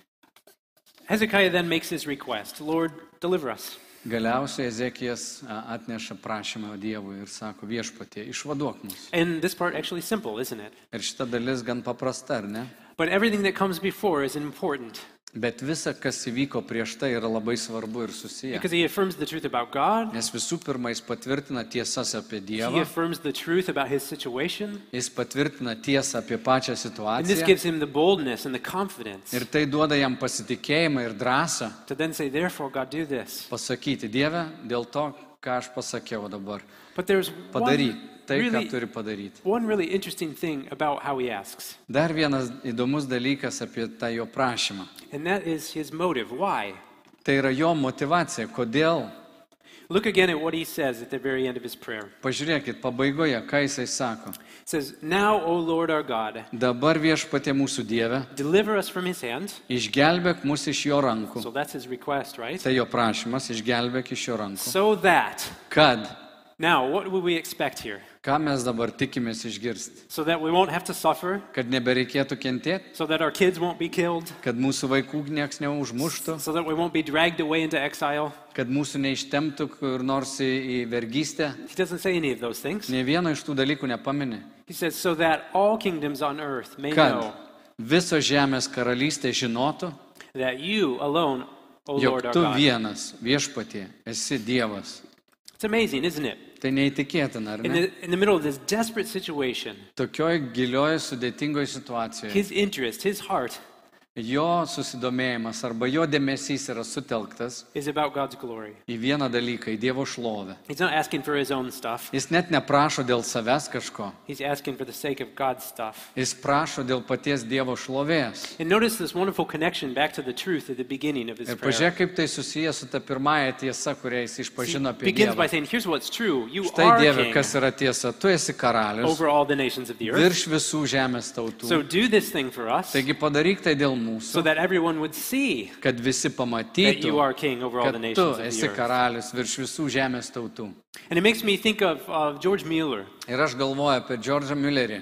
S2: Hezekiah then makes his request Lord, deliver us.
S3: Galiausiai Ezekijas a, atneša prašymą Dievui ir sako, viešpatie, išvaduok mus.
S2: And this part actually simple, isn't it?
S3: Ir šita dalis gan paprasta, ar ne?
S2: But everything that comes before is important
S3: Bet visa, kas įvyko prieš tai, yra labai svarbu ir susiję.
S2: because he affirms the truth about God,
S3: Nes visų pirma, jis patvirtina tiesas apie
S2: he
S3: Dievą,
S2: affirms the truth about his situation,
S3: jis patvirtina tiesą apie pačią
S2: and this
S3: situaciją
S2: gives him the boldness and the confidence
S3: ir tai duoda jam pasitikėjimą ir drąsą
S2: to then say, Therefore, God, do this.
S3: pasakyti, Dieve, dėl to, ką aš pasakiau dabar,
S2: But there's
S3: padaryk
S2: one
S3: tai, ką
S2: really,
S3: turi padaryti.
S2: one really interesting thing about how he asks,
S3: Dar vienas įdomus dalykas apie tą jo prašymą.
S2: and that is his motive. Why?
S3: Tai yra jo motivacija, kodėl,
S2: Look again at what he says at the very end of his prayer.
S3: pažiūrėkit, pabaigoje, ką jisai sako.
S2: It says, Now, O Lord our God,
S3: Dabar viešpatie mūsų Dieve,
S2: deliver us from his hand.
S3: išgelbėk mus iš jo rankų.
S2: So that's his request, right?
S3: Tai jo prašymas, išgelbėk iš jo rankų.
S2: So that.
S3: Kad
S2: Now, what would we expect here?
S3: Ką mes dabar tikimės išgirsti?
S2: So that we won't have to suffer,
S3: Kad nebereikėtų kentėti,
S2: so that our kids won't be killed,
S3: kad mūsų vaikų niekas neužmuštų,
S2: so that we won't be dragged away into exile.
S3: kad mūsų neištemtų kur nors į, į vergystę.
S2: He doesn't say any of those things.
S3: Ne vieno iš tų dalykų nepamini.
S2: He says, So that all kingdoms on earth may
S3: Kad
S2: know
S3: viso žemės karalystė žinotų,
S2: that you alone, O
S3: jog
S2: Oh, Lord our
S3: tu
S2: God.
S3: vienas viešpatie esi Dievas.
S2: It's amazing, isn't it?
S3: Tai neįtikėtina, ar
S2: In
S3: ne?
S2: the, in the middle of this desperate situation,
S3: Tokioj gilioj sudėtingoj situacijoje
S2: his interest, his heart,
S3: jo susidomėjimas arba jo dėmesys yra sutelktas
S2: is about God's glory.
S3: į vieną dalyką, į Dievo šlovę.
S2: He's not asking for his own stuff.
S3: Jis net neprašo dėl savęs kažko,
S2: He's asking for the sake of God's stuff.
S3: Jis prašo dėl paties Dievo šlovės.
S2: And notice this wonderful connection back to the truth at the beginning of his
S3: Ir
S2: prayer.
S3: pažiūrėk, kaip tai susiję su ta pirmąja tiesa, kurią jis išpažino
S2: He
S3: apie
S2: begins by
S3: Dievą.
S2: saying, Here's what's true. You
S3: Štai
S2: are
S3: Dieve,
S2: king
S3: kas yra tiesa, tu esi karalius
S2: over all the nations of the earth.
S3: virš visų žemės
S2: So
S3: tautų.
S2: do this thing for us.
S3: Taigi padaryk tai dėl
S2: so
S3: mūsų,
S2: that everyone would see
S3: kad visi
S2: that
S3: pamatytų,
S2: you are king over all
S3: kad
S2: the
S3: tu
S2: nations of
S3: esi
S2: the earth.
S3: karalius virš visų žemės tautų.
S2: And it makes me think of uh, George Mueller.
S3: Ir aš galvoju apie Džordžą Müllerį.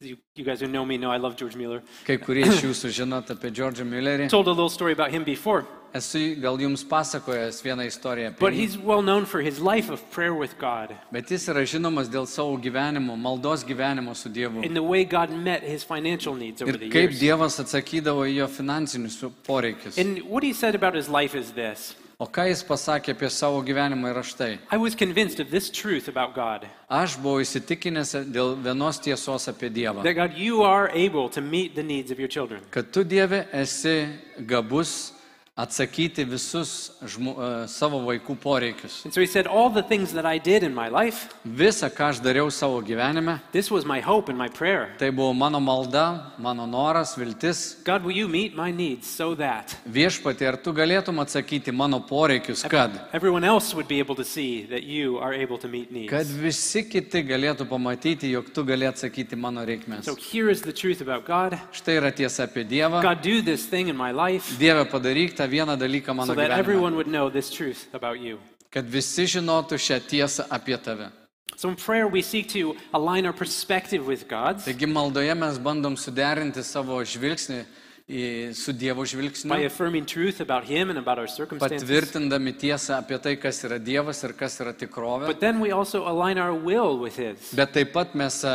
S2: You, you guys who know me know I love George Mueller.
S3: Kai kurie iš jūsų žinot apie Džordžą Müllerį.
S2: Told a little story about him before,
S3: Esu gal jums pasakojęs vieną istoriją apie
S2: but
S3: jį.
S2: he's well known for his life of prayer with God
S3: Bet jis yra žinomas dėl savo gyvenimo, maldos gyvenimo su Dievu.
S2: and the way God met his financial needs over
S3: Ir
S2: the
S3: kaip
S2: years.
S3: Dievas atsakydavo į jo finansinius poreikius.
S2: And what he said about his life is this
S3: O ką jis pasakė apie savo gyvenimą yra štai.
S2: I was convinced of this truth about God
S3: Aš buvau įsitikinęs dėl vienos tiesos apie Dievą.
S2: that God, you are able to meet the needs of your children.
S3: Kad tu Dieve esi gabus atsakyti visus žmo, e, savo vaikų poreikius.
S2: And so he said, All the things that I did in my life,
S3: Visa, ką aš dariau savo gyvenime,
S2: this was my hope and my prayer.
S3: tai buvo mano malda, mano noras, viltis.
S2: God, will you meet my needs so that
S3: Viešpatie, ar tu galėtum atsakyti mano poreikius, kad,
S2: everyone else would be able to see that you are able to meet needs?
S3: kad visi kiti galėtų pamatyti, jog tu galėtum atsakyti mano reikmės.
S2: So here is the truth about God.
S3: Štai yra tiesa apie Dievą.
S2: God, do this thing in my life
S3: Dieve padaryk tą vieną dalyką
S2: so
S3: mano
S2: that
S3: gyvenime.
S2: everyone would know this truth about you.
S3: Kad visi žinotų šią tiesą apie tave.
S2: So in prayer, we seek to align our perspective with God's
S3: Taigi maldoje mes bandom suderinti savo žvilgsnį į, su Dievo
S2: by
S3: žvilgsniu,
S2: affirming truth about Him and about our circumstances.
S3: patvirtindami tiesą apie tai, kas yra Dievas ir kas yra tikrovė.
S2: But then we also align our will with His.
S3: Bet taip pat mes a,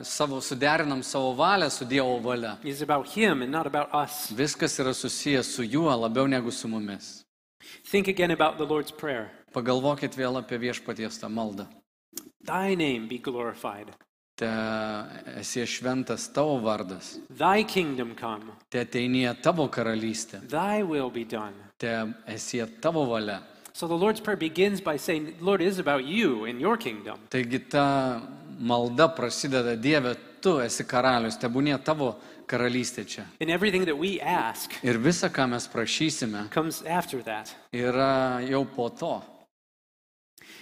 S3: a, savo, suderinam savo valią su Dievo valia.
S2: It's about Him and not about us.
S3: Viskas yra susijęs su juo labiau negu su mumis.
S2: Think again about the Lord's Prayer.
S3: Pagalvokit vėl apie viešpaties tą maldą.
S2: Thy name be glorified.
S3: Te esi šventas tavo vardas,
S2: Thy kingdom come.
S3: te ateinie tavo karalystė,
S2: Thy will be done.
S3: te esi tavo valia.
S2: So the Lord's Prayer begins by saying, Lord, it is about you and your kingdom.
S3: Taigi ta malda prasideda Dieve, tu esi karalius, tebūnie tavo karalystė čia.
S2: And everything that we ask
S3: Ir visa, ką mes prašysime,
S2: comes after that.
S3: yra jau po to.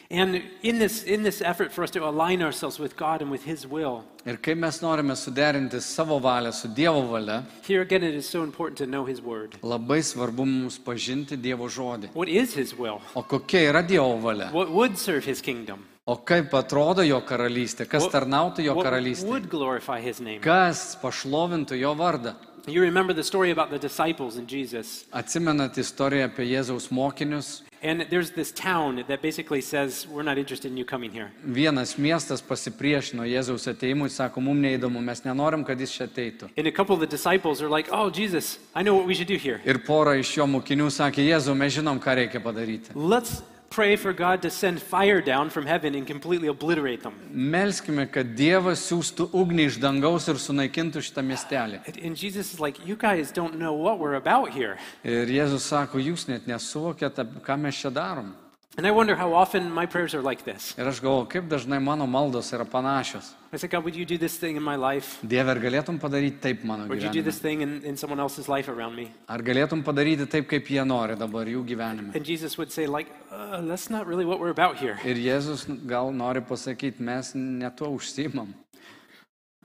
S2: And in this, in this effort for us to align ourselves with God and with His will,
S3: Ir kaip mes norime suderinti savo valią su Dievo valia,
S2: here again it is so important to know His Word.
S3: labai svarbu mums pažinti Dievo žodį.
S2: What is His will?
S3: O kokia yra Dievo valia?
S2: What would serve His kingdom?
S3: O kaip atrodo jo karalystė? Kas
S2: What-
S3: tarnautų jo
S2: what
S3: karalystė?
S2: would glorify His name?
S3: Kas pašlovintų jo vardą?
S2: You remember the story about the disciples and Jesus.
S3: Atsimenat istoriją apie Jėzaus mokinius?
S2: And there's this town that basically says, We're not interested in you coming here.
S3: Vienas miestas pasipriešino Jėzaus ateimui, sako, mums neįdomu, mes nenorim, kad jis čia ateitų.
S2: And a couple of the disciples are like, Oh, Jesus, I know what we should do here.
S3: Ir pora iš jo mokinių sakė, Jėzau, mes žinom, ką reikia padaryti.
S2: Let's pray for God to send fire down from heaven and completely obliterate them.
S3: Melskime, kad Dievas siūstų ugnį iš dangaus ir sunaikintų šitą miestelį.
S2: And- And Jesus is like, You guys don't know what we're about here.
S3: Ir Jėzus sako, jūs net nesuvokėt, ap- ką mes čia darom.
S2: And I wonder how often my prayers are like this.
S3: Ir aš galvoju, kaip dažnai mano maldos yra panašios.
S2: I say, God, would you do this thing in my life?
S3: Dieve, ar galėtum padaryti taip mano
S2: Would you do
S3: gyvenime?
S2: this thing in, in someone else's life around me?
S3: Ar galėtum padaryti taip, kaip jie nori dabar jų gyvenime?
S2: And Jesus would say, like, uh, that's not really what we're about here.
S3: Ir Jėzus gal nori pasakyti, mes ne tuo užsimam.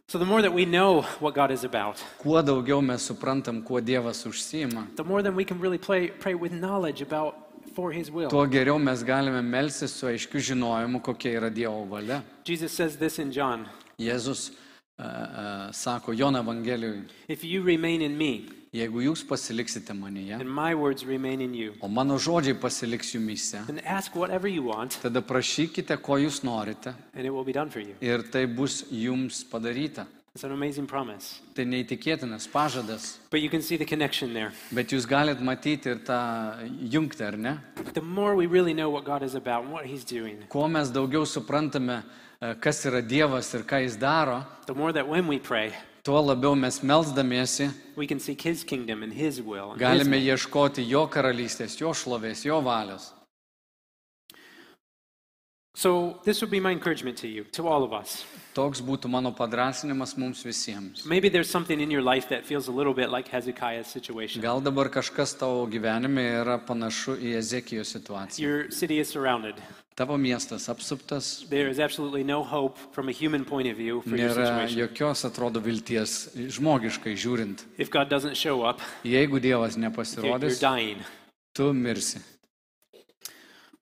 S2: So the more that we know what God is about,
S3: Kuo daugiau mes suprantam, kuo Dievas užsima,
S2: the more then we can really play, pray with knowledge about for his will.
S3: tuo geriau mes galime melsis su aiškiu žinojimu, kokia yra Dievo valia.
S2: Jesus says this in John
S3: Jėzus uh, uh, sako Jono Evangelijui,
S2: If you remain in me,
S3: jeigu jūs pasiliksite manyje,
S2: and my words remain in you,
S3: o mano žodžiai pasiliks jumise,
S2: then ask whatever you want,
S3: tada prašykite, ko jūs norite
S2: and it will be done for you.
S3: ir tai bus jums padaryta.
S2: It's an amazing promise.
S3: Tai neįtikėtinas pažadas.
S2: But you can see the connection there.
S3: Bet jūs galit matyti ir tą jungtį, ar ne?
S2: The more we really know what God is about and what he's doing,
S3: Kuo mes daugiau suprantame, e, kas yra Dievas ir ką Jis daro,
S2: the more that when we pray,
S3: tuo labiau mes melzdamiesi
S2: we can seek his kingdom and his will. And his
S3: galime ieškoti Jo karalystės, Jo šlovės, Jo valios.
S2: So, this would be my encouragement to you, to all of us.
S3: Toks būtų mano padrasinimas mums visiems.
S2: Maybe there's something in your life that feels a little bit like Hezekiah's situation.
S3: Gal dabar kažkas tavo gyvenime yra panašu į Ezekijos situaciją.
S2: Your city is surrounded,
S3: Tavo miestas apsuptas,
S2: There is absolutely no hope from a human point of view for your
S3: nėra
S2: situation.
S3: jokios, atrodo, vilties žmogiškai žiūrint.
S2: If God doesn't show up,
S3: Jeigu Dievas
S2: you're, you're
S3: nepasirodys,
S2: dying.
S3: tu mirsi.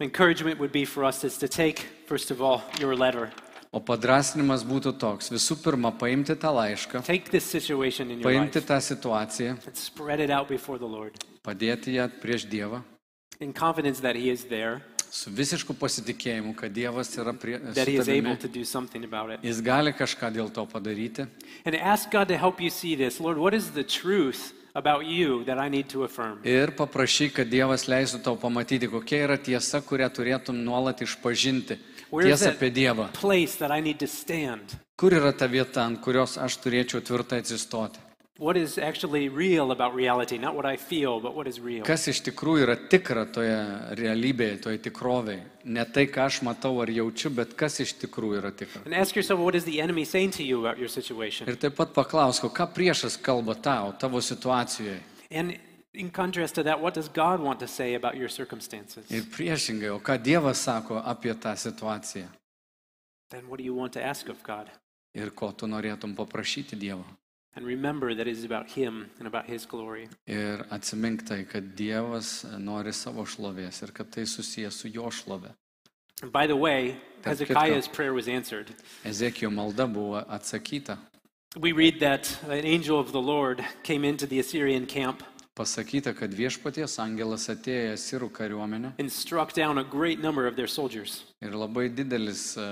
S2: Encouragement would be for us is to take, first of all, your letter.
S3: O padrasnimas būtų toks. Visų pirma, paimti tą laišką,
S2: Take this situation in your
S3: paimti
S2: life
S3: tą situaciją,
S2: and spread it out before the Lord
S3: padėti ją prieš Dievą,
S2: in confidence that He is there,
S3: su visišku pasitikėjimu, kad Dievas yra prie... su
S2: that He is able
S3: tavimi.
S2: to do something about it.
S3: Jis gali kažką dėl to padaryti.
S2: And ask God to help you see this. Lord, what is the truth about you that I need to affirm?
S3: Ir paprašyk, kad Dievas leistų tau pamatyti, kokia yra tiesa, kurią turėtum nuolat išpažinti.
S2: Where is
S3: Tiesa
S2: that
S3: apie Dievą.
S2: place that I need to stand?
S3: Kur yra ta vieta, ant kurios aš turėčiau tvirtai atsistoti?
S2: What is actually real about reality? Not what I feel, but what is real.
S3: Kas iš tikrųjų yra tikra toje realybėje, toje tikrovėje? Ne tai, ką aš matau ar jaučiu, bet kas iš tikrųjų yra tikra.
S2: And ask yourself, what is the enemy saying to you about your situation?
S3: Ir taip pat paklausk, o ką priešas kalba tau, tavo situacijoje.
S2: And in contrast to that, what does God want to say about your circumstances?
S3: Ir priešingai, o ką Dievas sako apie tą situaciją.
S2: Then what do you want to ask of God?
S3: Ir ko tu norėtum paprašyti Dievo.
S2: And remember that it is about Him and about His glory.
S3: Ir atsimink tai, kad Dievas nori savo šlovės ir kad tai susijęs su jo šlove.
S2: And by the way,
S3: That's good,
S2: Hezekiah's prayer was answered.
S3: Ezekijo malda buvo atsakyta.
S2: We read that an angel of the Lord came into the Assyrian camp
S3: Pasakyta, kad viešpaties angelas atėjo į Sirų kariuomenę
S2: and struck down a great number of their soldiers.
S3: ir labai didelis e,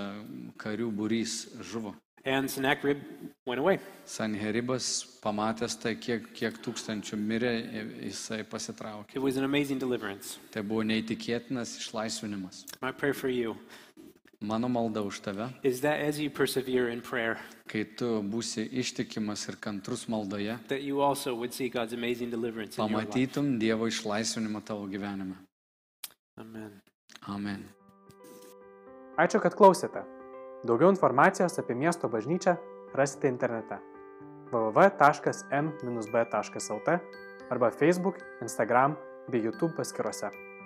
S3: karių būrys žuvo.
S2: And Sennacherib went away.
S3: Sanheribas, pamatęs tai, kiek, kiek tūkstančių mirė, i- jisai pasitraukė.
S2: It was an amazing deliverance.
S3: Tai buvo neįtikėtinas išlaisvinimas.
S2: My prayer for you
S3: Mano malda už tave,
S2: is that as you persevere in prayer,
S3: kai tu būsi ištikimas ir kantrus maldoje,
S2: that you also would see God's amazing deliverance in your life.
S3: pamatytum Dievo išlaisvinimą tavo gyvenime.
S2: Amen.
S3: Amen.
S1: Ačiū, kad klausėte. Daugiau informacijos apie miesto bažnyčią rasite internete www.m-b.lt arba Facebook, Instagram bei YouTube paskiruose.